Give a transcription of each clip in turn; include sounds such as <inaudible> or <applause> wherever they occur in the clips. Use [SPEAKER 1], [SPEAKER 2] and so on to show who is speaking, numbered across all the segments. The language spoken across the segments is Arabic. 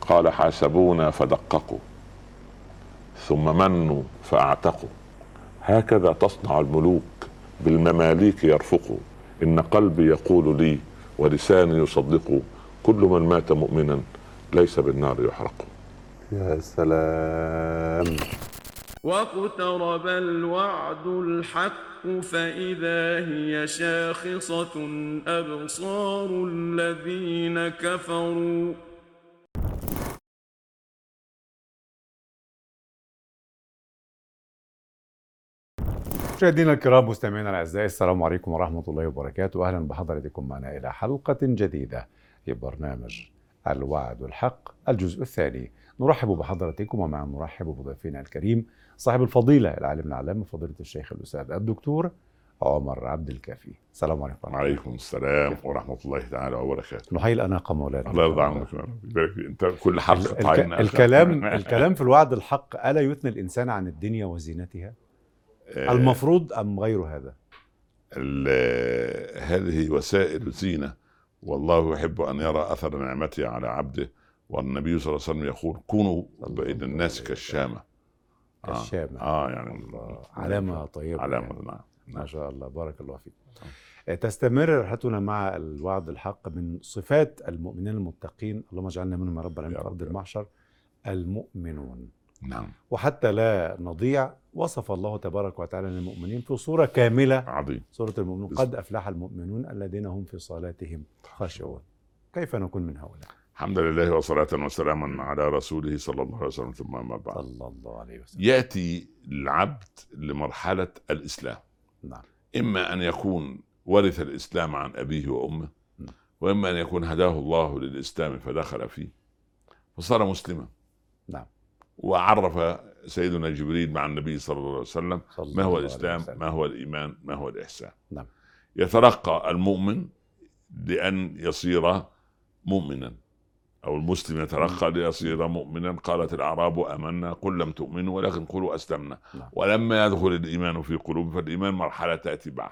[SPEAKER 1] قال حاسبونا فدققوا ثم منوا فاعتقوا هكذا تصنع الملوك بالمماليك يرفقوا ان قلبي يقول لي ولساني يصدق كل من مات مؤمنا ليس بالنار يحرق
[SPEAKER 2] يا سلام
[SPEAKER 3] واقترب الوعد الحق فإذا هي شاخصة أبصار الذين كفروا
[SPEAKER 4] مشاهدينا الكرام مستمعينا الاعزاء السلام عليكم ورحمه الله وبركاته اهلا بحضراتكم معنا الى حلقه جديده في برنامج الوعد الحق الجزء الثاني نرحب بحضراتكم ومع نرحب بضيفنا الكريم صاحب الفضيله العالم العلامه فضيله الشيخ الاستاذ الدكتور عمر عبد الكافي السلام عليكم ورحمه الله
[SPEAKER 1] وعليكم السلام ورحمه الله تعالى وبركاته
[SPEAKER 4] نحيي الاناقه مولانا
[SPEAKER 1] الله يرضى عنك يا رب يبارك فيك. انت كل حلقه
[SPEAKER 4] الك-
[SPEAKER 1] تعيننا. <laughs>
[SPEAKER 4] الكلام الكلام في الوعد الحق الا يثني الانسان عن الدنيا وزينتها
[SPEAKER 1] آه،
[SPEAKER 4] المفروض ام غير هذا
[SPEAKER 1] ال- هذه وسائل زينه والله يحب ان يرى اثر نعمته على عبده والنبي صلى الله عليه وسلم يقول كونوا بين الناس كالشامه آه.
[SPEAKER 4] الشامه
[SPEAKER 1] اه يعني
[SPEAKER 4] الله. علامه طيبه يعني.
[SPEAKER 1] علامه نعم
[SPEAKER 4] ما شاء الله بارك الله فيك آه، تستمر رحلتنا مع الوعد الحق من صفات المؤمنين المتقين اللهم اجعلنا منهم يا رب العالمين
[SPEAKER 1] يا
[SPEAKER 4] في
[SPEAKER 1] رب.
[SPEAKER 4] ارض المحشر المؤمنون
[SPEAKER 1] نعم
[SPEAKER 4] وحتى لا نضيع وصف الله تبارك وتعالى للمؤمنين في صوره كامله
[SPEAKER 1] عظيم
[SPEAKER 4] سوره المؤمنون
[SPEAKER 1] بس-
[SPEAKER 4] قد افلح المؤمنون الذين هم في صلاتهم خاشعون كيف نكون من هؤلاء
[SPEAKER 1] الحمد لله وصلاه وسلاما على رسوله صلى الله عليه وسلم ثم ما بعد
[SPEAKER 4] صلى الله عليه وسلم
[SPEAKER 1] ياتي العبد لمرحله الاسلام
[SPEAKER 4] نعم
[SPEAKER 1] إما أن يكون ورث الإسلام عن أبيه وأمه
[SPEAKER 4] نعم.
[SPEAKER 1] وإما أن يكون هداه الله للإسلام فدخل فيه وصار مسلما
[SPEAKER 4] نعم.
[SPEAKER 1] وعرف سيدنا جبريل مع النبي صلى الله عليه وسلم
[SPEAKER 4] صلى
[SPEAKER 1] ما
[SPEAKER 4] الله
[SPEAKER 1] هو
[SPEAKER 4] عليه
[SPEAKER 1] الإسلام
[SPEAKER 4] وسلم.
[SPEAKER 1] ما هو الإيمان ما هو الإحسان
[SPEAKER 4] نعم.
[SPEAKER 1] يترقى المؤمن لأن يصير مؤمنا أو المسلم يترقى
[SPEAKER 4] نعم.
[SPEAKER 1] ليصير مؤمنا قالت الأعراب آمنا قل لم تؤمنوا ولكن قولوا أسلمنا
[SPEAKER 4] نعم.
[SPEAKER 1] ولما يدخل الإيمان في قلوبهم فالإيمان مرحلة تأتي بعد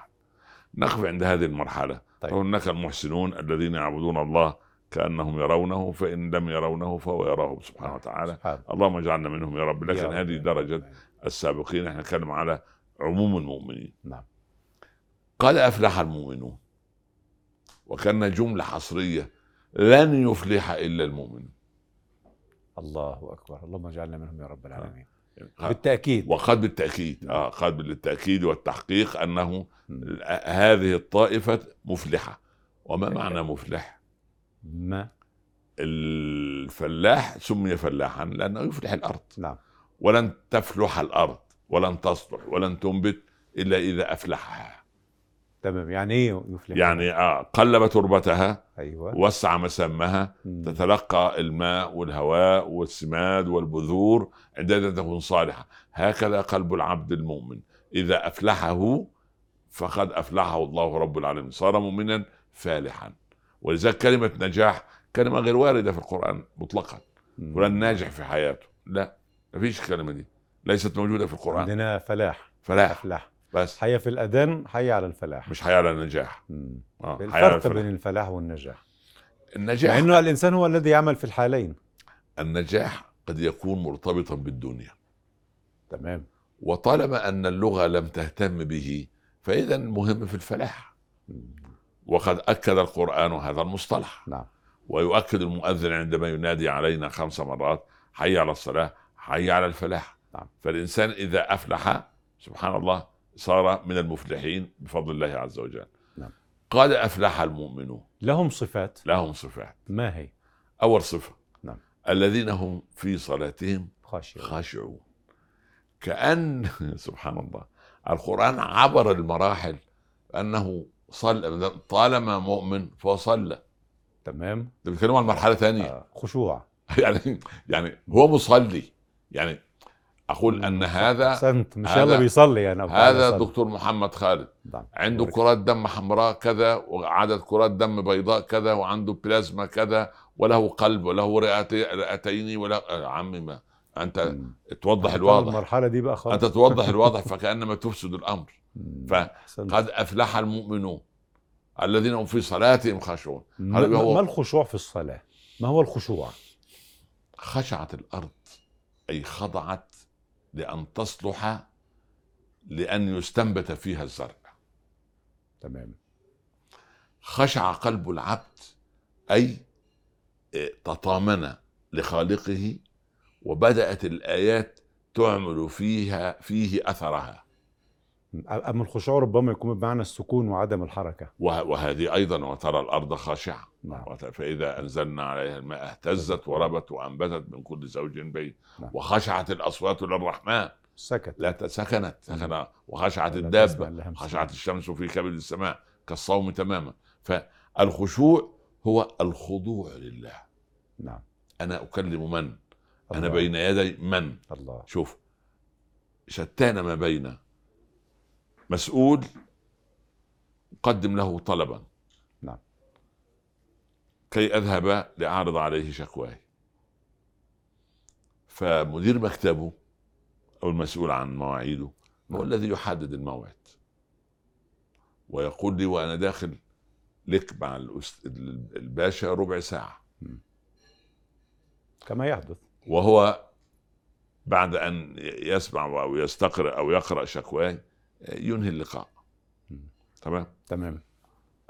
[SPEAKER 1] نقف عند هذه المرحلة
[SPEAKER 4] طيب.
[SPEAKER 1] فهناك المحسنون الذين يعبدون الله كأنهم يرونه فإن لم يرونه فهو يراهم سبحانه وتعالى
[SPEAKER 4] سبحان
[SPEAKER 1] اللهم اجعلنا منهم يا رب لكن
[SPEAKER 4] يا رب.
[SPEAKER 1] هذه درجة السابقين احنا نتكلم على عموم المؤمنين
[SPEAKER 4] نعم.
[SPEAKER 1] قد افلح المؤمنون وكان جمله حصريه لن يفلح الا المؤمن
[SPEAKER 4] الله اكبر اللهم اجعلنا منهم يا رب العالمين
[SPEAKER 1] آه.
[SPEAKER 4] نعم. بالتاكيد
[SPEAKER 1] وقد بالتاكيد اه قد بالتاكيد والتحقيق انه
[SPEAKER 4] م.
[SPEAKER 1] هذه الطائفه مفلحه وما معنى مفلح؟
[SPEAKER 4] ما
[SPEAKER 1] الفلاح سمي فلاحا لانه يفلح الارض
[SPEAKER 4] نعم
[SPEAKER 1] ولن تفلح الارض ولن تصلح ولن تنبت الا اذا افلحها
[SPEAKER 4] تمام يعني ايه يفلح
[SPEAKER 1] يعني آه قلب تربتها
[SPEAKER 4] ايوه
[SPEAKER 1] وسع مسامها
[SPEAKER 4] مم.
[SPEAKER 1] تتلقى الماء والهواء والسماد والبذور عندها تكون صالحة هكذا قلب العبد المؤمن إذا أفلحه فقد أفلحه الله رب العالمين صار مؤمنا فالحا ولذلك كلمة نجاح كلمة غير واردة في القرآن مطلقا
[SPEAKER 4] مم.
[SPEAKER 1] فلان ناجح في حياته لا مفيش الكلمة دي ليست موجودة في القرآن
[SPEAKER 4] عندنا فلاح
[SPEAKER 1] فلاح
[SPEAKER 4] افلح
[SPEAKER 1] بس
[SPEAKER 4] حي في الاذان حي على الفلاح
[SPEAKER 1] مش حياة على النجاح
[SPEAKER 4] مم.
[SPEAKER 1] آه، حياة على
[SPEAKER 4] الفرق
[SPEAKER 1] الفلاح.
[SPEAKER 4] بين الفلاح والنجاح مع
[SPEAKER 1] النجاح
[SPEAKER 4] انه الانسان هو الذي يعمل في الحالين
[SPEAKER 1] النجاح قد يكون مرتبطا بالدنيا
[SPEAKER 4] تمام
[SPEAKER 1] وطالما ان اللغه لم تهتم به فاذا المهم في الفلاح
[SPEAKER 4] مم.
[SPEAKER 1] وقد اكد القران هذا المصطلح
[SPEAKER 4] نعم
[SPEAKER 1] ويؤكد المؤذن عندما ينادي علينا خمس مرات حي على الصلاه حي على الفلاح
[SPEAKER 4] نعم.
[SPEAKER 1] فالانسان اذا افلح سبحان الله صار من المفلحين بفضل الله عز وجل
[SPEAKER 4] نعم.
[SPEAKER 1] قد افلح المؤمنون
[SPEAKER 4] لهم صفات
[SPEAKER 1] لهم صفات
[SPEAKER 4] ما هي
[SPEAKER 1] اول صفه
[SPEAKER 4] نعم.
[SPEAKER 1] الذين هم في صلاتهم
[SPEAKER 4] خاشعة
[SPEAKER 1] خاشعون كأن <laughs> سبحان الله القرآن عبر المراحل أنه صلى طالما مؤمن فهو صلى
[SPEAKER 4] تمام
[SPEAKER 1] ده بيتكلموا عن مرحلة ثانية
[SPEAKER 4] آه. خشوع
[SPEAKER 1] <laughs> يعني يعني هو مصلي يعني أقول أن هذا
[SPEAKER 4] احسنت ما شاء
[SPEAKER 1] هذا-
[SPEAKER 4] الله بيصلي يعني أو تعالى
[SPEAKER 1] هذا
[SPEAKER 4] صلي.
[SPEAKER 1] الدكتور محمد خالد
[SPEAKER 4] نعم.
[SPEAKER 1] عنده
[SPEAKER 4] بارك.
[SPEAKER 1] كرات دم حمراء كذا وعدد كرات دم بيضاء كذا وعنده بلازما كذا وله قلب وله رئتي- رئتين ولا يا عمي ما أنت
[SPEAKER 4] مم.
[SPEAKER 1] توضح
[SPEAKER 4] أنت
[SPEAKER 1] الواضح
[SPEAKER 4] المرحله دي بقى خلاص
[SPEAKER 1] أنت توضح الواضح فكأنما تفسد الأمر
[SPEAKER 4] مم.
[SPEAKER 1] فقد
[SPEAKER 4] أحسنت.
[SPEAKER 1] أفلح المؤمنون الذين هم في صلاتهم خاشعون
[SPEAKER 4] ما
[SPEAKER 1] هل
[SPEAKER 4] ما-
[SPEAKER 1] هو-
[SPEAKER 4] ما الخشوع في الصلاه ما هو الخشوع
[SPEAKER 1] خشعت الارض اي خضعت لان تصلح لان يستنبت فيها الزرع
[SPEAKER 4] تمام
[SPEAKER 1] خشع قلب العبد اي تطامن لخالقه وبدات الايات تعمل فيها فيه اثرها
[SPEAKER 4] أما الخشوع ربما يكون بمعنى السكون وعدم الحركة
[SPEAKER 1] وه- وهذه ايضا وترى الارض خاشعه
[SPEAKER 4] نعم
[SPEAKER 1] وت- فاذا انزلنا عليها الماء اهتزت وربت وانبتت من كل زوج بين
[SPEAKER 4] نعم.
[SPEAKER 1] وخشعت الاصوات للرحمن
[SPEAKER 4] سكت
[SPEAKER 1] لا ت- سكنت سكن وخشعت
[SPEAKER 4] نعم. لا تسمع
[SPEAKER 1] الدابه
[SPEAKER 4] إلا همسا.
[SPEAKER 1] خشعت الشمس في كبد السماء كالصوم تماما فالخشوع هو الخضوع لله
[SPEAKER 4] نعم
[SPEAKER 1] انا اكلم من انا
[SPEAKER 4] الله.
[SPEAKER 1] بين يدي من
[SPEAKER 4] الله
[SPEAKER 1] شوف آه. شتان ما بين مسؤول قدم له طلبا
[SPEAKER 4] نعم.
[SPEAKER 1] كي اذهب لاعرض عليه شكواي فمدير مكتبه او المسؤول عن مواعيده هو
[SPEAKER 4] نعم.
[SPEAKER 1] الذي يحدد الموعد ويقول لي وانا داخل لك مع الأس- الباشا ربع ساعه
[SPEAKER 4] كما يحدث
[SPEAKER 1] وهو بعد ان يسمع او يستقر او يقرا شكواي ينهي اللقاء
[SPEAKER 4] مم.
[SPEAKER 1] تمام
[SPEAKER 4] تمام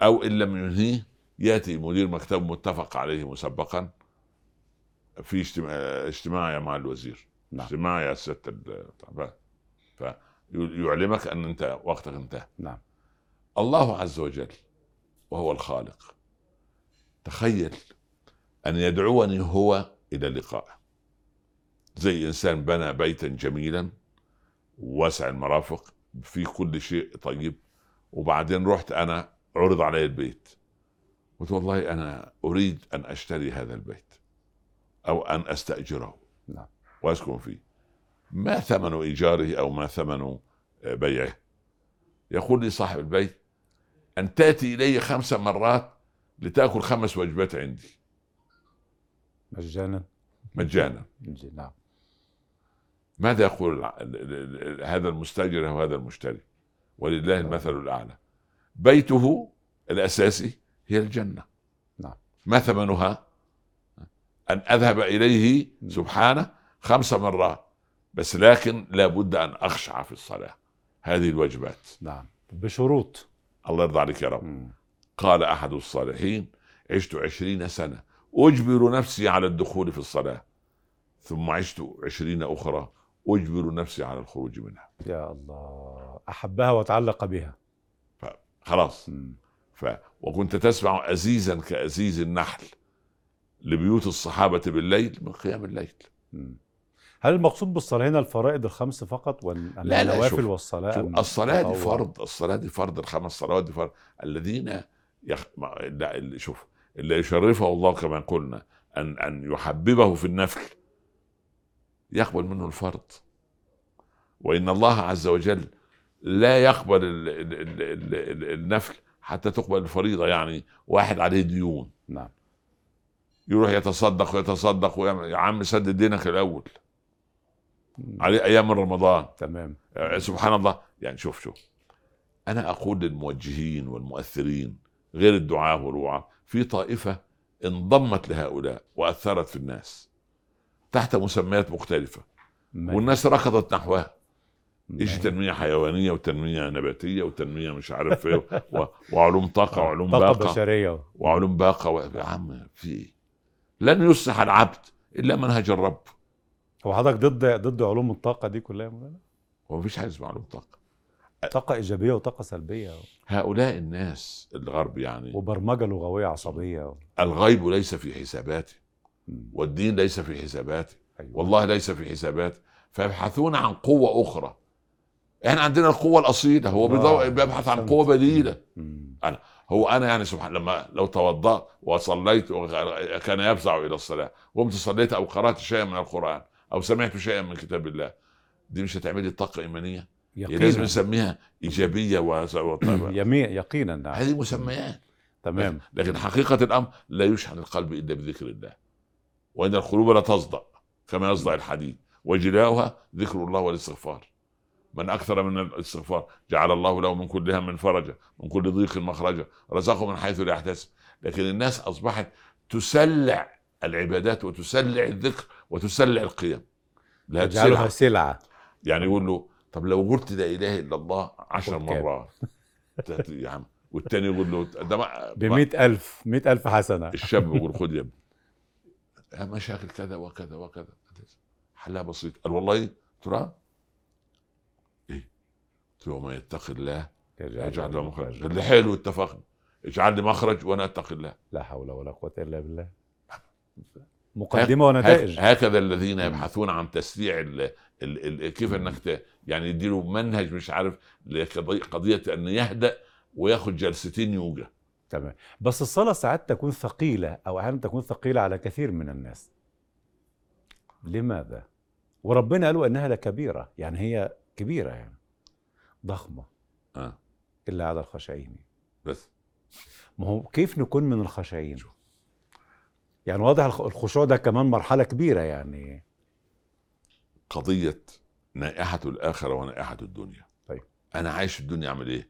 [SPEAKER 1] او ان لم ينهيه ياتي مدير مكتب متفق عليه مسبقا في اجتماع اجتماعي مع الوزير
[SPEAKER 4] نعم.
[SPEAKER 1] اجتماعي يا سياده الطلبة. فيعلمك ان انت وقتك انتهى
[SPEAKER 4] نعم.
[SPEAKER 1] الله عز وجل وهو الخالق تخيل ان يدعوني هو الى لقائه زي انسان بنى بيتا جميلا واسع المرافق في كل شيء طيب وبعدين رحت انا عرض علي البيت قلت والله انا اريد ان اشتري هذا البيت او ان استاجره
[SPEAKER 4] نعم.
[SPEAKER 1] واسكن فيه ما ثمن ايجاره او ما ثمن آه، بيعه يقول لي صاحب البيت ان تاتي الي خمس مرات لتاكل خمس وجبات عندي
[SPEAKER 4] مجانا
[SPEAKER 1] مجانا
[SPEAKER 4] نجي، نعم
[SPEAKER 1] ماذا يقول الع- ال- ال- ال- هذا المستاجر او هذا المشتري ولله المثل الاعلى بيته الاساسي هي الجنه
[SPEAKER 4] نعم.
[SPEAKER 1] ما ثمنها ان اذهب اليه سبحانه خمس مرات بس لكن لا بد ان اخشع في الصلاه هذه الواجبات
[SPEAKER 4] نعم بشروط
[SPEAKER 1] الله يرضى عليك يا رب
[SPEAKER 4] مم.
[SPEAKER 1] قال أحد الصالحين عشت عشرين سنة أجبر نفسي على الدخول في الصلاة ثم عشت عشرين أخرى أجبر نفسي على الخروج منها
[SPEAKER 4] يا الله أحبها وتعلق بها
[SPEAKER 1] خلاص
[SPEAKER 4] مم.
[SPEAKER 1] ف... وكنت تسمع أزيزا كأزيز النحل لبيوت الصحابة بالليل من قيام الليل
[SPEAKER 4] مم. هل المقصود بالصلاة هنا الفرائض الخمس فقط ولا
[SPEAKER 1] لا، لا،
[SPEAKER 4] النوافل
[SPEAKER 1] شوف-
[SPEAKER 4] والصلاة
[SPEAKER 1] شوف،
[SPEAKER 4] أم
[SPEAKER 1] الصلاة دي
[SPEAKER 4] تطوع؟
[SPEAKER 1] فرض الصلاة دي فرض الخمس صلوات دي فرض الذين يخ... ما- لا اللي- شوف اللي يشرفه الله كما قلنا أن أن يحببه في النفل يقبل منه الفرض وإن الله عز وجل لا يقبل ال... ال... ال... ال... ال... النفل حتى تقبل الفريضة يعني واحد عليه ديون
[SPEAKER 4] نعم
[SPEAKER 1] يروح يتصدق ويتصدق ويعمل يا عم سدد دينك الأول عليه أيام رمضان
[SPEAKER 4] تمام
[SPEAKER 1] آه، سبحان الله يعني شوف شوف انا اقول للموجهين والمؤثرين غير الدعاه والوعاة في طائفه انضمت لهؤلاء واثرت في الناس تحت مسميات مختلفه
[SPEAKER 4] ما-
[SPEAKER 1] والناس ركضت نحوها
[SPEAKER 4] ما-
[SPEAKER 1] ايش تنميه حيوانيه وتنميه نباتيه وتنميه مش عارف ايه و- وعلوم طاقه وعلوم
[SPEAKER 4] طاقة
[SPEAKER 1] باقه
[SPEAKER 4] بشرية
[SPEAKER 1] وعلوم باقه و... يا عم في ايه لن يصلح العبد الا منهج الرب
[SPEAKER 4] هو حضرتك ضد ضد علوم الطاقة دي كلها يا مولانا؟
[SPEAKER 1] وما فيش حاجه اسمها علوم طاقه
[SPEAKER 4] طاقة إيجابية وطاقة سلبية
[SPEAKER 1] هؤلاء الناس الغرب يعني
[SPEAKER 4] وبرمجة لغوية عصبية
[SPEAKER 1] الغيب ليس في حساباتي
[SPEAKER 4] مم.
[SPEAKER 1] والدين ليس في حساباتي
[SPEAKER 4] أيوة.
[SPEAKER 1] والله ليس في حساباتي فيبحثون عن قوة أخرى احنا عندنا القوة الأصيلة هو
[SPEAKER 4] الله،
[SPEAKER 1] بيضو- بيبحث عن
[SPEAKER 4] أحسنت.
[SPEAKER 1] قوة بديلة
[SPEAKER 4] مم.
[SPEAKER 1] هو أنا يعني سبحان لما لو توضأت وصليت وغ- كان يفزع إلى الصلاة وقمت صليت أو قرأت شيئا من القرآن أو سمعت شيئا من كتاب الله دي مش هتعمل لي طاقة إيمانية هي لازم
[SPEAKER 4] يقينا
[SPEAKER 1] نسميها إيجابية و... و-
[SPEAKER 4] يمي... يقينا نعم
[SPEAKER 1] هذه مسميات
[SPEAKER 4] تمام
[SPEAKER 1] لكن حقيقة الأمر لا يشحن القلب إلا بذكر الله وإن القلوب لا تصدأ كما يصدع الحديد وجلاؤها ذكر الله والاستغفار من أكثر من الاستغفار جعل الله له من كل هم فرجا من كل ضيق مخرجا رزقه من حيث لا يحتسب لكن الناس أصبحت تسلع العبادات وتسلع الذكر وتسلع القيم لا
[SPEAKER 4] اجعلها
[SPEAKER 1] تسلع
[SPEAKER 4] سلعه
[SPEAKER 1] يعني يقول له طب لو قلت لا اله الا الله عشر
[SPEAKER 4] خد كام؟
[SPEAKER 1] مرات تت- يا عم والتاني يقول له ده ما
[SPEAKER 4] ب 100000 100000 حسنه
[SPEAKER 1] الشاب يقول خد يا ابني مشاكل كذا وكذا وكذا حلها بسيط قال والله ترى ايه قلت له ومن يتق الله يجعل له مخرج قال لي حلو اتفقنا اجعل لي مخرج وانا اتقي الله
[SPEAKER 4] لا حول ولا قوه الا بالله مقدمه
[SPEAKER 1] هك-
[SPEAKER 4] ونتائج
[SPEAKER 1] هكذا الذين يبحثون عن تسريع ال ال ال كيف انك ت- يعني يديله منهج مش عارف لقضي- قضيه ان يهدأ وياخد جلستين يوجا
[SPEAKER 4] تمام بس الصلاه ساعات تكون ثقيله او احيانا تكون ثقيله على كثير من الناس لماذا وربنا قالوا انها لكبيره يعني هي كبيره يعني ضخمه
[SPEAKER 1] آه.
[SPEAKER 4] الا على الخشعين
[SPEAKER 1] بس
[SPEAKER 4] ما هو كيف نكون من الخشعين يعني واضح الخ- الخشوع ده كمان مرحله كبيره يعني
[SPEAKER 1] قضيه نائحه الاخره ونائحه الدنيا
[SPEAKER 4] طيب.
[SPEAKER 1] انا عايش في الدنيا اعمل ايه؟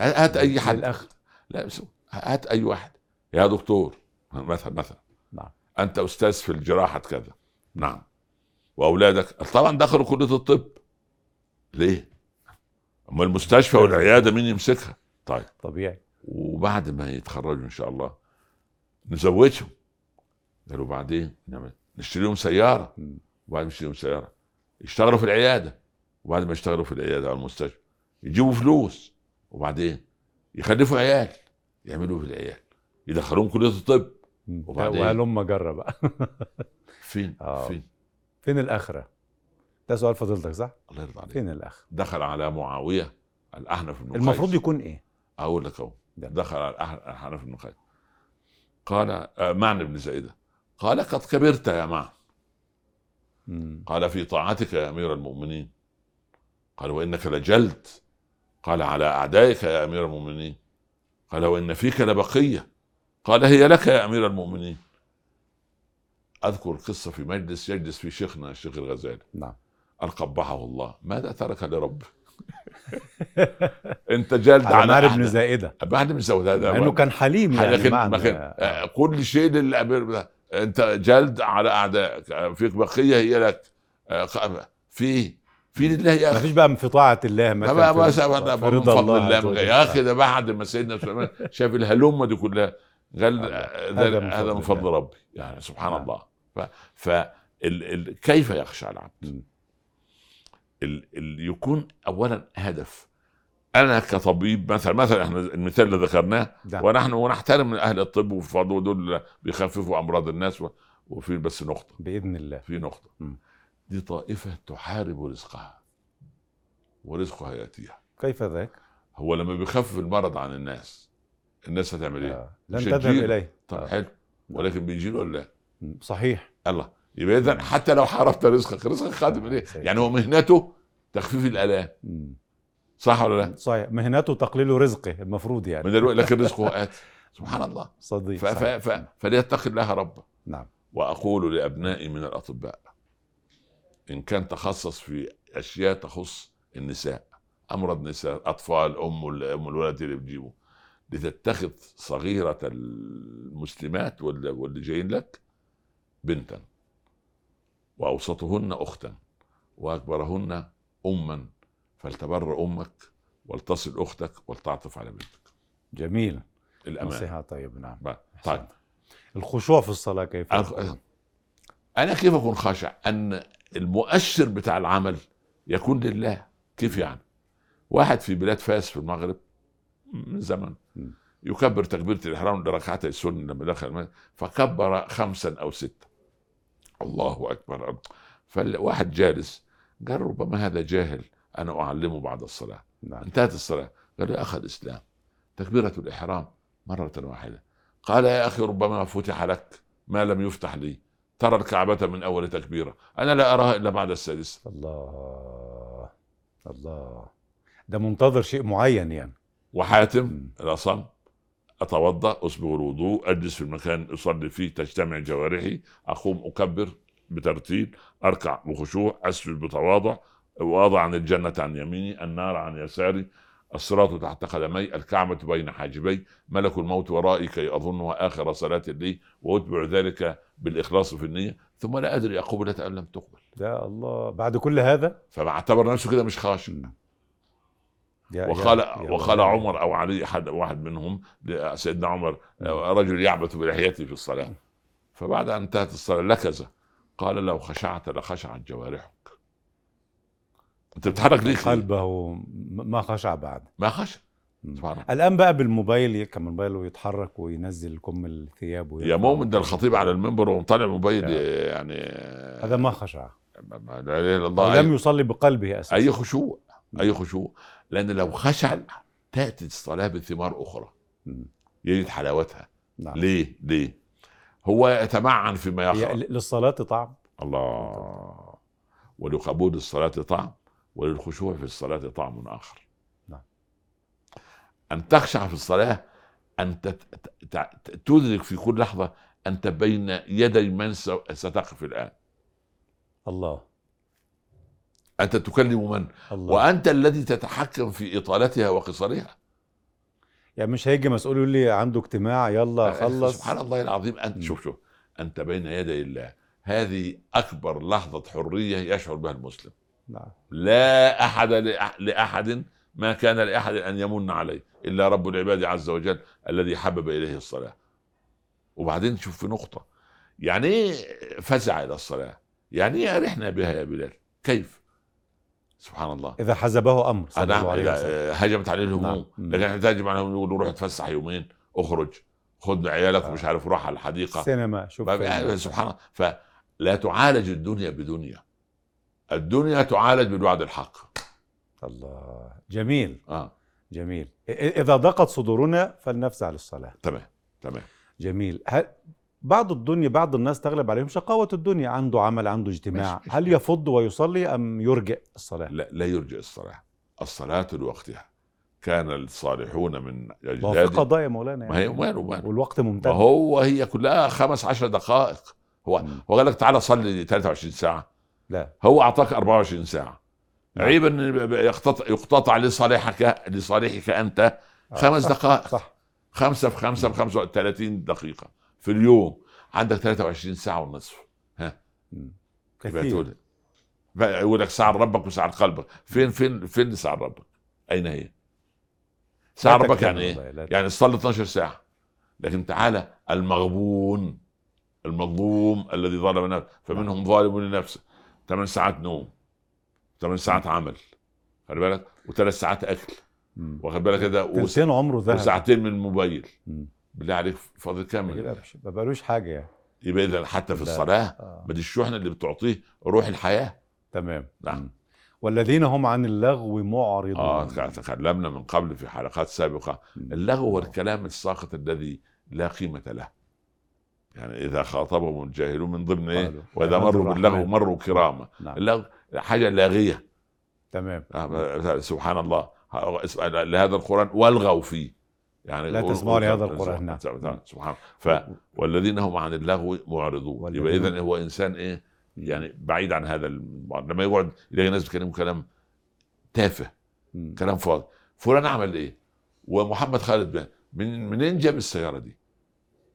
[SPEAKER 1] هات اي حد
[SPEAKER 4] للآخر.
[SPEAKER 1] لا بس هات اي واحد يا دكتور مثلا مثلا
[SPEAKER 4] نعم.
[SPEAKER 1] انت استاذ في الجراحه كذا نعم واولادك طبعا دخلوا كليه الطب ليه؟ اما المستشفى والعياده مين يمسكها؟ طيب
[SPEAKER 4] طبيعي
[SPEAKER 1] وبعد ما يتخرجوا ان شاء الله نزوجهم قالوا بعدين نعمل نشتري لهم سياره
[SPEAKER 4] مم.
[SPEAKER 1] وبعد ما نشتري لهم سياره يشتغلوا في العياده وبعد ما يشتغلوا في العياده او المستشفى يجيبوا فلوس وبعدين يخلفوا عيال يعملوا في العيال يدخلوهم كليه الطب وبعدين؟
[SPEAKER 4] وهلم جرى بقى <laughs>
[SPEAKER 1] فين
[SPEAKER 4] آه.
[SPEAKER 1] فين
[SPEAKER 4] فين الاخره ده سؤال فضيلتك صح
[SPEAKER 1] الله يرضى عليك
[SPEAKER 4] فين الاخره
[SPEAKER 1] دخل على معاويه الاحنف بن قيس.
[SPEAKER 4] المفروض يكون ايه
[SPEAKER 1] اقول لك اهو
[SPEAKER 4] ده.
[SPEAKER 1] دخل على الأح- الحنف بن قيس قال آه، معنى بن زائده قال قد كبرت يا معن
[SPEAKER 4] مم.
[SPEAKER 1] قال في طاعتك يا امير المؤمنين قال وانك لجلد قال على اعدائك يا امير المؤمنين قال وان فيك لبقيه قال هي لك يا امير المؤمنين اذكر قصه في مجلس يجلس فيه شيخنا الشيخ الغزالي
[SPEAKER 4] نعم
[SPEAKER 1] قال قبحه الله ماذا ترك
[SPEAKER 4] <laughs>
[SPEAKER 1] لربه انت جلد
[SPEAKER 4] على
[SPEAKER 1] على
[SPEAKER 4] معر بن
[SPEAKER 1] أحد-
[SPEAKER 4] زائده
[SPEAKER 1] بعد بن زود
[SPEAKER 4] مع انه
[SPEAKER 1] هذا
[SPEAKER 4] كان حليم يعني
[SPEAKER 1] لكن
[SPEAKER 4] معنى
[SPEAKER 1] لكن آه، كل شيء للأمير انت جلد على اعدائك آه، فيك بقيه هي لك آه، ق- في في لله يا
[SPEAKER 4] ما
[SPEAKER 1] اخي
[SPEAKER 4] فيش بقى من في طاعه الله مثلا
[SPEAKER 1] ما ما
[SPEAKER 4] في-
[SPEAKER 1] سبب
[SPEAKER 4] في
[SPEAKER 1] من
[SPEAKER 4] رضا
[SPEAKER 1] فضل الله
[SPEAKER 4] عز
[SPEAKER 1] من غير-
[SPEAKER 4] وجل.
[SPEAKER 1] يا اخي ده بعد ما سيدنا سليمان شاف الهلمه دي كلها قال آه،
[SPEAKER 4] هذا
[SPEAKER 1] ده-
[SPEAKER 4] من
[SPEAKER 1] هذا من
[SPEAKER 4] فضل
[SPEAKER 1] فضل ربي يعني سبحان
[SPEAKER 4] نعم.
[SPEAKER 1] الله ف, ف ال ال كيف يخشى
[SPEAKER 4] مم.
[SPEAKER 1] العبد؟ ال ال يكون اولا هدف انا كطبيب مثلا مثلا احنا المثال اللي ذكرناه
[SPEAKER 4] نعم.
[SPEAKER 1] ونحن ونحترم اهل الطب وفضلوا دول بيخففوا امراض الناس و- وفي بس نقطه
[SPEAKER 4] باذن الله
[SPEAKER 1] في نقطه
[SPEAKER 4] مم.
[SPEAKER 1] دي طائفه تحارب رزقها ورزقها ياتيها
[SPEAKER 4] كيف ذاك؟
[SPEAKER 1] هو لما بيخفف المرض عن الناس الناس هتعمل ايه؟
[SPEAKER 4] آه. لن
[SPEAKER 1] مش
[SPEAKER 4] تذهب
[SPEAKER 1] الجيل.
[SPEAKER 4] اليه
[SPEAKER 1] طب
[SPEAKER 4] آه.
[SPEAKER 1] حلو ولكن بيجي له ولا لا؟
[SPEAKER 4] مم. صحيح
[SPEAKER 1] الله يبقى اذا حتى لو حاربت رزقك رزقك خادم ليه؟
[SPEAKER 4] آه. سيد.
[SPEAKER 1] يعني هو مهنته تخفيف الالام
[SPEAKER 4] مم.
[SPEAKER 1] صح ولا لا؟
[SPEAKER 4] صحيح مهنته تقليل رزقه المفروض يعني
[SPEAKER 1] من دلوقتي لكن رزقه اتي سبحان الله
[SPEAKER 4] صديق
[SPEAKER 1] ف-
[SPEAKER 4] صحيح.
[SPEAKER 1] ف- ف- فليتقي الله ربه
[SPEAKER 4] نعم
[SPEAKER 1] واقول لابنائي من الاطباء ان كان تخصص في اشياء تخص النساء امراض نساء اطفال ام ال- ام الولد اللي بتجيبه لتتخذ صغيره المسلمات وال- واللي جايين لك بنتا واوسطهن اختا واكبرهن اما فلتبر امك ولتصل اختك ولتعطف على بنتك
[SPEAKER 4] جميل
[SPEAKER 1] الامان
[SPEAKER 4] نصيحه طيب نعم
[SPEAKER 1] بقى.
[SPEAKER 4] أحسنت.
[SPEAKER 1] طيب
[SPEAKER 4] الخشوع في الصلاه كيف
[SPEAKER 1] أنا- انا كيف اكون خاشع ان المؤشر بتاع العمل يكون لله كيف يعني واحد في بلاد فاس في المغرب من زمن
[SPEAKER 4] مم.
[SPEAKER 1] يكبر تكبيرة الإحرام لركعتي السنة لما دخل المسجد فكبر خمسا أو ستة الله أكبر فالواحد جالس قال ربما هذا جاهل أنا أعلمه بعد الصلاة
[SPEAKER 4] نعم
[SPEAKER 1] انتهت الصلاة قال يا أخ الإسلام تكبيرة الإحرام مرة واحدة قال يا أخي ربما فتح لك ما لم يفتح لي ترى الكعبة من أول تكبيرة أنا لا أراها إلا بعد السادسة
[SPEAKER 4] الله الله ده منتظر شيء معين يعني
[SPEAKER 1] وحاتم
[SPEAKER 4] مم.
[SPEAKER 1] لا صم أتوضأ أصبغ الوضوء أجلس في المكان أصلي فيه تجتمع جوارحي أقوم أكبر بترتيب أركع بخشوع أسجد بتواضع وأضع عن الجنة عن يميني النار عن يساري الصراط تحت قدمي الكعبة بين حاجبي ملك الموت ورائي كي أظنها آخر صلاة لي وأتبع ذلك بالإخلاص في النية ثم لا أدري أقبلت أم لم تقبل
[SPEAKER 4] يا الله بعد كل هذا
[SPEAKER 1] فاعتبر نفسه كده مش خاشع
[SPEAKER 4] يا
[SPEAKER 1] وقال
[SPEAKER 4] يا- يا
[SPEAKER 1] وقال
[SPEAKER 4] الله.
[SPEAKER 1] عمر او علي احد واحد منهم ل- سيدنا عمر رجل يعبث بلحيته في الصلاه فبعد ان انتهت الصلاه لكز قال لو خشعت لخشعت جوارحك انت بتتحرك ليه كده؟
[SPEAKER 4] قلبه م- ما خشع بعد
[SPEAKER 1] ما خشع
[SPEAKER 4] مم.
[SPEAKER 1] سبحان الله
[SPEAKER 4] الان بقى بالموبايل يركب موبايله ويتحرك وينزل كم الثياب ويرفع.
[SPEAKER 1] يا مؤمن ده الخطيب على المنبر وهو طالع موبايل
[SPEAKER 4] يا.
[SPEAKER 1] ي- يعني
[SPEAKER 4] هذا ما خشع
[SPEAKER 1] ما- ما- لا اله الا الله
[SPEAKER 4] ولم
[SPEAKER 1] أي,
[SPEAKER 4] يصلي بقلبه اساسا
[SPEAKER 1] اي خشوع اي خشوع لان لو خشع تاتي الصلاه بثمار اخرى
[SPEAKER 4] مم.
[SPEAKER 1] يجد حلاوتها
[SPEAKER 4] نعم.
[SPEAKER 1] ليه ليه هو يتمعن فيما
[SPEAKER 4] هي
[SPEAKER 1] يخرج
[SPEAKER 4] ل- للصلاة طعم
[SPEAKER 1] الله ولقبول الصلاة طعم وللخشوع في الصلاة طعم آخر
[SPEAKER 4] نعم.
[SPEAKER 1] أن تخشع في الصلاة أن تت- ت- ت- تدرك في كل لحظة أنت بين يدي من س- ستقف الآن
[SPEAKER 4] الله
[SPEAKER 1] أنت تكلم من
[SPEAKER 4] الله
[SPEAKER 1] وأنت الذي تتحكم في إطالتها وقصرها
[SPEAKER 4] يعني مش هيجي مسؤول يقول لي عنده اجتماع يلا خلص
[SPEAKER 1] سبحان الله العظيم أنت
[SPEAKER 4] مم.
[SPEAKER 1] شوف شوف أنت بين يدي الله هذه أكبر لحظة حرية يشعر بها المسلم
[SPEAKER 4] نعم.
[SPEAKER 1] لا احد لأح- لاحد ما كان لاحد ان يمن عليه الا رب العباد عز وجل الذي حبب اليه الصلاه. وبعدين شوف في نقطه يعني ايه فزع الى الصلاه؟ يعني ايه ارحنا بها يا بلال؟ كيف؟ سبحان الله.
[SPEAKER 4] اذا حزبه امر صلى
[SPEAKER 1] نعم
[SPEAKER 4] الله عليه وسلم
[SPEAKER 1] إذا هجمت عليه الهموم
[SPEAKER 4] نعم.
[SPEAKER 1] لكن احنا تهجم عليه الهموم يقول له روح اتفسح يومين اخرج خد عيالك
[SPEAKER 4] آه.
[SPEAKER 1] ومش عارف روح على الحديقه
[SPEAKER 4] سينما شوف
[SPEAKER 1] ما بقى- سبحان الله فلا تعالج الدنيا بدنيا الدنيا تعالج بالوعد الحق
[SPEAKER 4] الله جميل
[SPEAKER 1] اه
[SPEAKER 4] جميل إ- اذا ضاقت صدورنا فلنفزع للصلاة
[SPEAKER 1] تمام تمام
[SPEAKER 4] جميل هل بعض الدنيا بعض الناس تغلب عليهم شقاوة الدنيا عنده عمل عنده اجتماع
[SPEAKER 1] مش- مش-
[SPEAKER 4] هل يفض ويصلي ام يرجئ الصلاة
[SPEAKER 1] لا لا يرجى الصلاه الصلاه لوقتها كان الصالحون من
[SPEAKER 4] ما هو في
[SPEAKER 1] اجدادهم
[SPEAKER 4] قضايا مولانا
[SPEAKER 1] ما هي
[SPEAKER 4] يعني
[SPEAKER 1] ماله ماله
[SPEAKER 4] والوقت
[SPEAKER 1] ما
[SPEAKER 4] ممتد
[SPEAKER 1] هو هي كلها خمس عشر دقائق هو
[SPEAKER 4] مم.
[SPEAKER 1] هو قال لك تعالى صلي 23 ساعه
[SPEAKER 4] لا.
[SPEAKER 1] هو اعطاك 24 ساعه
[SPEAKER 4] نعم.
[SPEAKER 1] عيب ان يقتطع يقتطع لصالحك لصالحك انت
[SPEAKER 4] آه،
[SPEAKER 1] خمس
[SPEAKER 4] صح،
[SPEAKER 1] دقائق
[SPEAKER 4] صح
[SPEAKER 1] خمسة في خمسة في خمسة 30 دقيقة في اليوم عندك 23 ساعة ونصف
[SPEAKER 4] مم.
[SPEAKER 1] يبقى
[SPEAKER 4] كثير
[SPEAKER 1] تقول بقى يقول لك ساعة ربك وساعة قلبك فين فين فين ساعة ربك؟ أين هي؟ ساعة ربك يعني إيه؟
[SPEAKER 4] يعني
[SPEAKER 1] يعني تصلي 12 ساعة لكن تعالى المغبون المظلوم الذي ظلم نفسه فمنهم ظالم لنفسه 8 ساعات نوم 8 ساعات عمل خلي بالك وثلاث ساعات اكل واخد بالك كده وس-
[SPEAKER 4] تلتين عمره ذهب
[SPEAKER 1] وساعتين من الموبايل
[SPEAKER 4] مم.
[SPEAKER 1] بالله عليك فاضل كامل
[SPEAKER 4] يبقى مش- ما بقالوش حاجه يعني
[SPEAKER 1] يبقى اذا حتى في
[SPEAKER 4] لا.
[SPEAKER 1] الصلاه
[SPEAKER 4] آه.
[SPEAKER 1] ما دي الشحنه اللي بتعطيه روح الحياه
[SPEAKER 4] تمام
[SPEAKER 1] نعم.
[SPEAKER 4] مم. والذين هم عن اللغو معرضون
[SPEAKER 1] اه تكلمنا من قبل في حلقات سابقه
[SPEAKER 4] مم.
[SPEAKER 1] اللغو هو الكلام الساقط الذي لا قيمه له يعني اذا خاطبهم الجاهلون من ضمن
[SPEAKER 4] قالوا.
[SPEAKER 1] ايه واذا
[SPEAKER 4] آه، عبد
[SPEAKER 1] مروا باللغو
[SPEAKER 4] الرحمن. مروا
[SPEAKER 1] مروا كرامه
[SPEAKER 4] نعم.
[SPEAKER 1] اللغو حاجه لاغيه
[SPEAKER 4] تمام
[SPEAKER 1] آه، سبحان الله ها- اسم- لهذا القران والغوا فيه يعني
[SPEAKER 4] لا
[SPEAKER 1] قول-
[SPEAKER 4] تسمعوا
[SPEAKER 1] قول-
[SPEAKER 4] لهذا القرآن، نعم.
[SPEAKER 1] سبحان الله ف- والذين هم عن اللغو معرضون يبقى
[SPEAKER 4] والذين-
[SPEAKER 1] اذا هو انسان ايه يعني بعيد عن هذا الموضوع لما يقعد يلاقي ناس بيتكلموا كلام تافه
[SPEAKER 4] مم.
[SPEAKER 1] كلام فاضي فلان عمل ايه ومحمد خالد بن من منين جاب السياره دي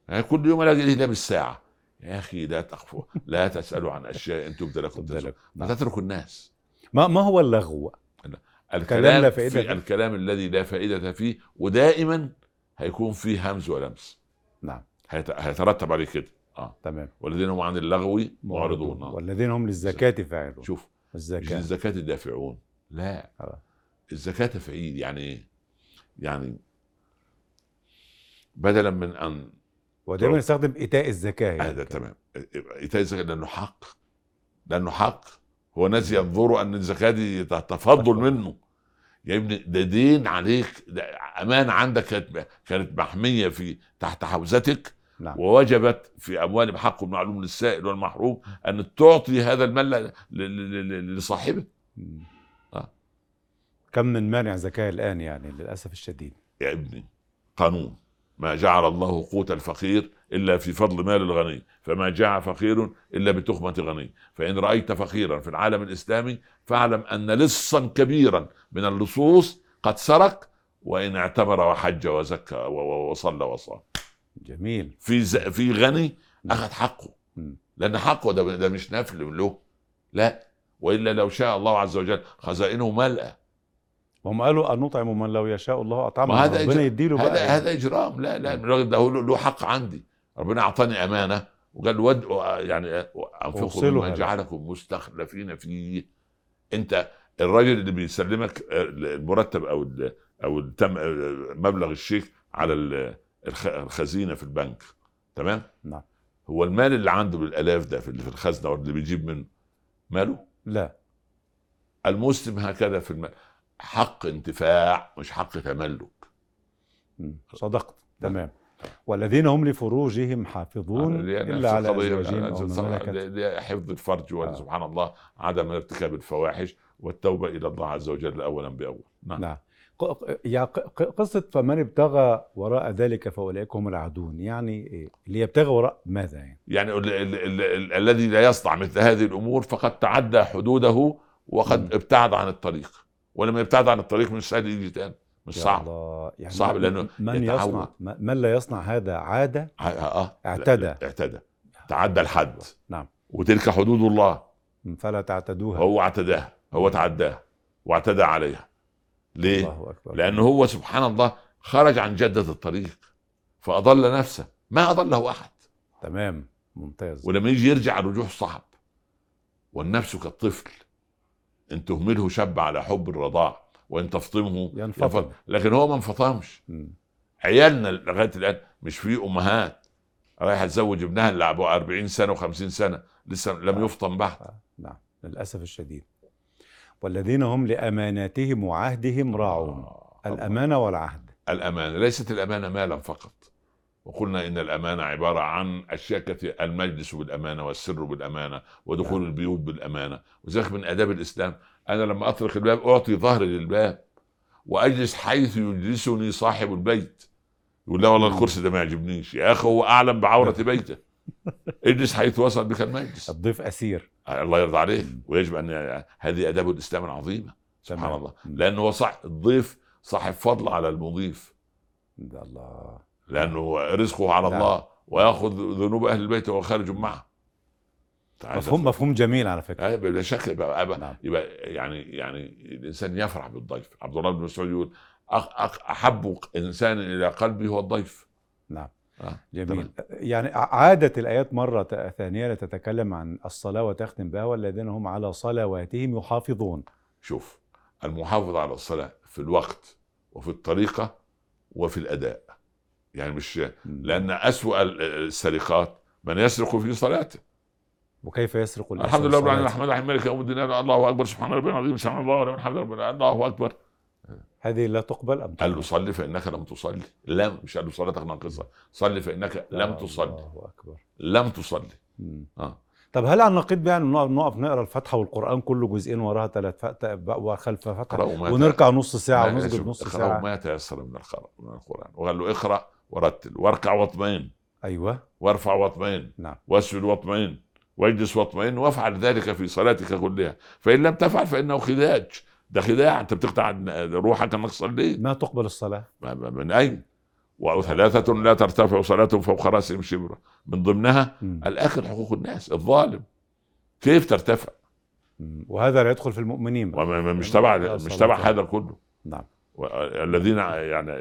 [SPEAKER 1] يعني كل يوم الاقي ليه لابس ساعه يا اخي لا تخفوا لا تسالوا عن اشياء ان تبدى لكم
[SPEAKER 4] تبدأ
[SPEAKER 1] تسؤ-
[SPEAKER 4] لك.
[SPEAKER 1] ما
[SPEAKER 4] نعم.
[SPEAKER 1] تتركوا الناس
[SPEAKER 4] ما ما هو اللغو كلام
[SPEAKER 1] الكلام
[SPEAKER 4] لا
[SPEAKER 1] في
[SPEAKER 4] فائدة فيه.
[SPEAKER 1] الكلام الذي لا فائده فيه ودائما هيكون فيه همز ولمس
[SPEAKER 4] نعم.
[SPEAKER 1] هيت- هيترتب عليه كده
[SPEAKER 4] تمام
[SPEAKER 1] والذين هم عن اللغو معرضون آه.
[SPEAKER 4] والذين هم للزكاه فاعلون
[SPEAKER 1] شوف مش
[SPEAKER 4] الزكاه
[SPEAKER 1] للزكاة دافعون لا
[SPEAKER 4] آه.
[SPEAKER 1] الزكاة تفعيل يعني ايه؟ يعني بدلا من ان
[SPEAKER 4] ودايما يستخدم ايتاء الزكاه يعني.
[SPEAKER 1] هذا تمام ايتاء الزكاة لانه حق لانه حق هو ناس ينظروا ان الزكاة دي تفضل منه يا ابني ده دين عليك ده امان عندك كانت كانت محمية في تحت حوزتك
[SPEAKER 4] نعم.
[SPEAKER 1] ووجبت في اموالهم حق معلوم للسائل والمحروم ان تعطي هذا المال ل- ل- ل- لصاحبه
[SPEAKER 4] مم.
[SPEAKER 1] آه.
[SPEAKER 4] كم من مانع زكاه الان يعني للاسف الشديد
[SPEAKER 1] يا ابني قانون ما جعل الله قوت الفقير الا في فضل مال الغني فما جاع فقير الا بتخمه غني فان رايت فقيرا في العالم الاسلامي فاعلم ان لصا كبيرا من اللصوص قد سرق وان اعتمر وحج وزكى و- و- وصلى وصام
[SPEAKER 4] جميل
[SPEAKER 1] في ز... في غني اخذ حقه
[SPEAKER 4] مم.
[SPEAKER 1] لان حقه ده, ده مش نفل له لا والا لو شاء الله عز وجل خزائنه ملأ
[SPEAKER 4] هم قالوا ان نطعم من لو يشاء الله اطعمه
[SPEAKER 1] ما هذا
[SPEAKER 4] ربنا
[SPEAKER 1] إجر-
[SPEAKER 4] يديله بقى يعني.
[SPEAKER 1] هذا هذا اجرام لا لا الراجل ده هو له له حق عندي ربنا اعطاني امانه وقال ود يعني انفقوا
[SPEAKER 4] أوصلها
[SPEAKER 1] مما
[SPEAKER 4] لك.
[SPEAKER 1] جعلكم مستخلفين فيه انت الراجل اللي بيسلمك آه، المرتب او ال- او التم آه، مبلغ الشيك على ال- الخ- الخزينه في البنك تمام؟
[SPEAKER 4] نعم.
[SPEAKER 1] هو المال اللي عنده بالالاف ده في اللي في الخزنه واللي بيجيب منه ماله؟
[SPEAKER 4] لا
[SPEAKER 1] المسلم هكذا في المال حق انتفاع مش حق تملك
[SPEAKER 4] مم. صدقت
[SPEAKER 1] نعم.
[SPEAKER 4] تمام والذين هم لفروجهم حافظون
[SPEAKER 1] يعني
[SPEAKER 4] الا على
[SPEAKER 1] قضية-
[SPEAKER 4] ازواجهم او ما
[SPEAKER 1] صلاة-
[SPEAKER 4] ملكت
[SPEAKER 1] دي- دي حفظ الفرج
[SPEAKER 4] آه.
[SPEAKER 1] آه. سبحان الله عدم ارتكاب الفواحش والتوبه الى الله عز وجل اولا باول نعم
[SPEAKER 4] نعم ق- يا ق- ق- قصة فمن ابتغى وراء ذلك فأولئك هم العادون يعني إيه؟ اللي يبتغى وراء ماذا يعني
[SPEAKER 1] يعني ال- ال- ال- ال- الذي لا يصنع مثل هذه الامور فقد تعدى حدوده
[SPEAKER 4] مم.
[SPEAKER 1] وقد ابتعد عن الطريق ولما يبتعد عن الطريق مش سهل يجي تاني مش
[SPEAKER 4] يا
[SPEAKER 1] صعب
[SPEAKER 4] الله، يعني
[SPEAKER 1] صعب
[SPEAKER 4] من-
[SPEAKER 1] لأنه
[SPEAKER 4] من
[SPEAKER 1] يتعود.
[SPEAKER 4] يصنع م- من لا يصنع هذا عادة
[SPEAKER 1] ع- اه لا-
[SPEAKER 4] اعتدى.
[SPEAKER 1] لا، اعتدى تعدى الحد
[SPEAKER 4] نعم
[SPEAKER 1] وتلك حدود الله
[SPEAKER 4] فلا تعتدوها
[SPEAKER 1] هو اعتداها هو تعداها واعتدى عليها ليه؟
[SPEAKER 4] الله أكبر
[SPEAKER 1] لانه هو سبحان الله خرج عن جده الطريق فاضل نفسه ما اضله احد
[SPEAKER 4] تمام ممتاز
[SPEAKER 1] ولما يجي يرجع الرجوع صعب والنفس كالطفل ان تهمله شب على حب الرضاع وان تفطمه
[SPEAKER 4] ينفطم.
[SPEAKER 1] ينفط- لكن هو ما انفطمش
[SPEAKER 4] مم.
[SPEAKER 1] عيالنا لغايه الان مش في امهات رايحه تزوج ابنها اللي ابو 40 سنه و50 سنه لسه
[SPEAKER 4] آه.
[SPEAKER 1] لم يفطم بعد
[SPEAKER 4] نعم للأسف الشديد والذين هم لأماناتهم وعهدهم راعون
[SPEAKER 1] آه، الله.
[SPEAKER 4] الأمانة والعهد
[SPEAKER 1] الأمانة ليست الأمانة مالا فقط وقلنا إن الأمانة عبارة عن أشياء كثيرة المجلس بالأمانة والسر بالأمانة ودخول البيوت بالأمانة وذلك من آداب الإسلام أنا لما أطرق الباب أعطي ظهري للباب وأجلس حيث يجلسني صاحب البيت يقول لا والله الكرسي ده ما يعجبنيش يا أخي هو أعلم بعورة بيته اجلس حيث وصل بك المجلس
[SPEAKER 4] الضيف أسير
[SPEAKER 1] الله يرضى عليك ويجب أن هذه آداب الإسلام العظيمة سبحان
[SPEAKER 4] تمام.
[SPEAKER 1] الله
[SPEAKER 4] مم.
[SPEAKER 1] لأنه هو صح الضيف صاحب فضل على المضيف
[SPEAKER 4] ده الله
[SPEAKER 1] لانه رزقه على
[SPEAKER 4] نعم.
[SPEAKER 1] الله وياخذ ذنوب اهل البيت وهو خارج معه تعال
[SPEAKER 4] مفهوم مفهوم جميل على فكرة
[SPEAKER 1] آه، بلا شك يبقى, يبقى,
[SPEAKER 4] نعم.
[SPEAKER 1] يبقى يعني يعني الانسان يفرح بالضيف عبد الله بن مسعود يقول أخ أخ احب انسان الى قلبي هو الضيف
[SPEAKER 4] نعم.
[SPEAKER 1] آه.
[SPEAKER 4] جميل يعني عادت الآيات مرة ت- ثانية تتكلم عن الصلاة وتختم بها والذين هم على صلواتهم يحافظون
[SPEAKER 1] شوف المحافظ على الصلاه في الوقت وفي الطريقه وفي الاداء يعني مش لان اسوا ال- السرقات من يسرق في صلاته
[SPEAKER 4] وكيف يسرق الإنسان
[SPEAKER 1] الحمد لله رب العالمين
[SPEAKER 4] صلاته؟
[SPEAKER 1] الرحمن الرحيم مالك يوم الدين الله اكبر سبحان ربي العظيم سبحان الله ولمن حمد ربنا الله اكبر
[SPEAKER 4] هذه لا تقبل أم
[SPEAKER 1] قال له صلي فانك لم تصلي لم مش قال له صلاتك ناقصه صلي فانك لم تصلي
[SPEAKER 4] الله أكبر
[SPEAKER 1] لم تصلي
[SPEAKER 4] مم.
[SPEAKER 1] اه
[SPEAKER 4] طب هل على النقيض بقى إنه نقف- نقف نقرا الفاتحه والقران كله جزئين وراها ثلاث وخلف فتحه
[SPEAKER 1] اقرأوا ما
[SPEAKER 4] ونركع نص ساعه
[SPEAKER 1] ما-
[SPEAKER 4] ونسجد
[SPEAKER 1] شوف،
[SPEAKER 4] نص
[SPEAKER 1] اقرأوا
[SPEAKER 4] ساعه
[SPEAKER 1] ما تيسر من القرآن من القران وقال له اقرا ورتل واركع واطمئن
[SPEAKER 4] ايوه
[SPEAKER 1] وارفع واطمئن
[SPEAKER 4] نعم.
[SPEAKER 1] واسجد واطمئن واجلس واطمئن وافعل ذلك في صلاتك كلها فان لم تفعل فانه خداج ده خداع انت بتقطع روحك انك صليت
[SPEAKER 4] ما تقبل الصلاه
[SPEAKER 1] ما- ما- من اين؟ وثلاثة لا ترتفع صلاتهم فوق راسهم شبرا من ضمنها
[SPEAKER 4] مم.
[SPEAKER 1] الاخر حقوق الناس الظالم كيف ترتفع؟
[SPEAKER 4] مم. وهذا لا يدخل في المؤمنين بقى.
[SPEAKER 1] وما- ما- مش تبع
[SPEAKER 4] لا
[SPEAKER 1] مش
[SPEAKER 4] صلاة.
[SPEAKER 1] تبع هذا كله
[SPEAKER 4] نعم
[SPEAKER 1] و- الذين يعني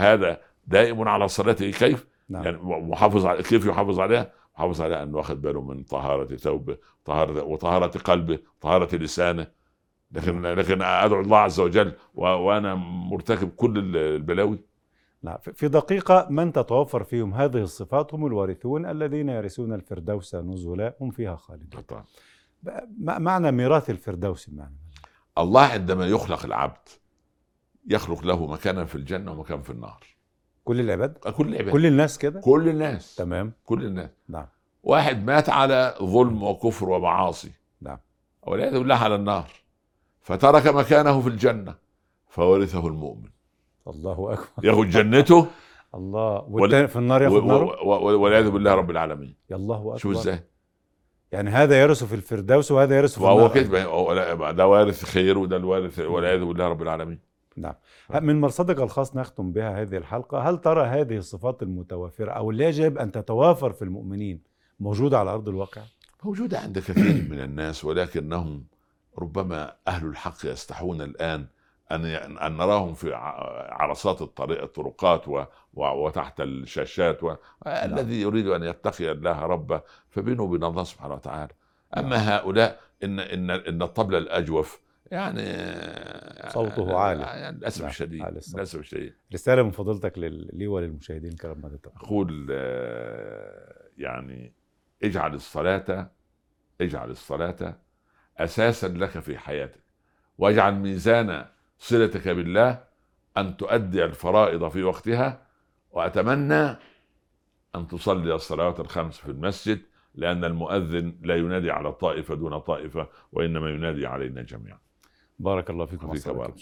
[SPEAKER 1] هذا دائم على صلاته كيف؟
[SPEAKER 4] نعم
[SPEAKER 1] يعني محافظ على كيف يحافظ عليها؟ محافظ على انه واخد باله من طهارة ثوبه، طهارة وطهارة قلبه، طهارة لسانه لكن لكن ادعو الله عز وجل و- وانا مرتكب كل البلاوي
[SPEAKER 4] نعم في- في دقيقه من تتوفر فيهم هذه الصفات هم الوارثون الذين يرثون الفردوس نزلا هم فيها خالدون
[SPEAKER 1] طبعا
[SPEAKER 4] بقى ما- معنى ميراث الفردوس معنى
[SPEAKER 1] الله عندما يخلق العبد يخلق له مكانا في الجنة ومكان في النار
[SPEAKER 4] كل العباد
[SPEAKER 1] كل العباد كل,
[SPEAKER 4] كل الناس كده
[SPEAKER 1] كل الناس
[SPEAKER 4] تمام
[SPEAKER 1] كل الناس
[SPEAKER 4] نعم
[SPEAKER 1] واحد مات على ظلم وكفر ومعاصي
[SPEAKER 4] نعم.
[SPEAKER 1] والعياذ بالله على النار فترك مكانه في الجنة فورثه المؤمن
[SPEAKER 4] الله اكبر
[SPEAKER 1] ياخذ جنته
[SPEAKER 4] الله والتاني في النار
[SPEAKER 1] و-
[SPEAKER 4] <laughs> ياخذ ناره
[SPEAKER 1] و- و- والعياذ بالله رب العالمين
[SPEAKER 4] يا الله اكبر
[SPEAKER 1] شو ازاي؟
[SPEAKER 4] يعني هذا يرث في الفردوس وهذا يرث في
[SPEAKER 1] فهو
[SPEAKER 4] النار
[SPEAKER 1] كده ما هو- لا- ده وارث خير وده الوارث والعياذ بالله رب العالمين
[SPEAKER 4] نعم من مرصدك الخاص نختم بها هذه الحلقة هل ترى هذه الصفات المتوافرة أو اللي يجب أن تتوافر في المؤمنين موجودة على أرض الواقع؟
[SPEAKER 1] موجودة عند كثير من الناس ولكنهم ربما أهل الحق يستحون الآن أن أن نراهم في ع- عرصات الطريق الطرقات و... و... وتحت الشاشات و...
[SPEAKER 4] نعم.
[SPEAKER 1] الذي يريد أن يتقي الله ربه فبينه وبين الله سبحانه وتعالى
[SPEAKER 4] نعم.
[SPEAKER 1] أما هؤلاء إن إن إن الطبل الأجوف يعني
[SPEAKER 4] صوته عالي.
[SPEAKER 1] يعني للأسف
[SPEAKER 4] نعم،
[SPEAKER 1] الشديد
[SPEAKER 4] عالي الصوت.
[SPEAKER 1] للأسف الشديد
[SPEAKER 4] رسالة من فضلتك لل- لي وللمشاهدين الكرام ماذا تقول؟
[SPEAKER 1] أقول آه، يعني اجعل الصلاة اجعل الصلاة أساسا لك في حياتك واجعل ميزان صلتك بالله أن تؤدي الفرائض في وقتها وأتمنى أن تصلي الصلوات الخمس في المسجد لأن المؤذن لا ينادي على طائفة دون طائفة وإنما ينادي علينا جميعا
[SPEAKER 4] بارك الله فيكم
[SPEAKER 1] فيك
[SPEAKER 4] وأسعدكم.
[SPEAKER 1] بارك.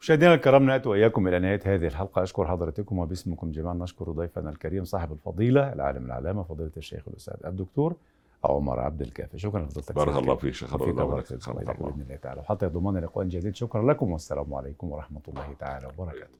[SPEAKER 4] مشاهدينا الكرام نأتي وإياكم إلى نهاية هذه الحلقة أشكر حضرتكم وباسمكم جميعا نشكر ضيفنا الكريم صاحب الفضيلة العالم العلامة فضيلة الشيخ الأستاذ الدكتور عمر عبد الكافي شكرا لفضيلتك
[SPEAKER 1] بارك
[SPEAKER 4] سيدي
[SPEAKER 1] الله فيك شيخ
[SPEAKER 4] وفيك
[SPEAKER 1] الله
[SPEAKER 4] بارك
[SPEAKER 1] وبارك
[SPEAKER 4] الله
[SPEAKER 1] فيك.
[SPEAKER 4] بإذن الله تعالى وحتى ضمان لقاء جديد شكرا لكم والسلام عليكم ورحمة الله تعالى وبركاته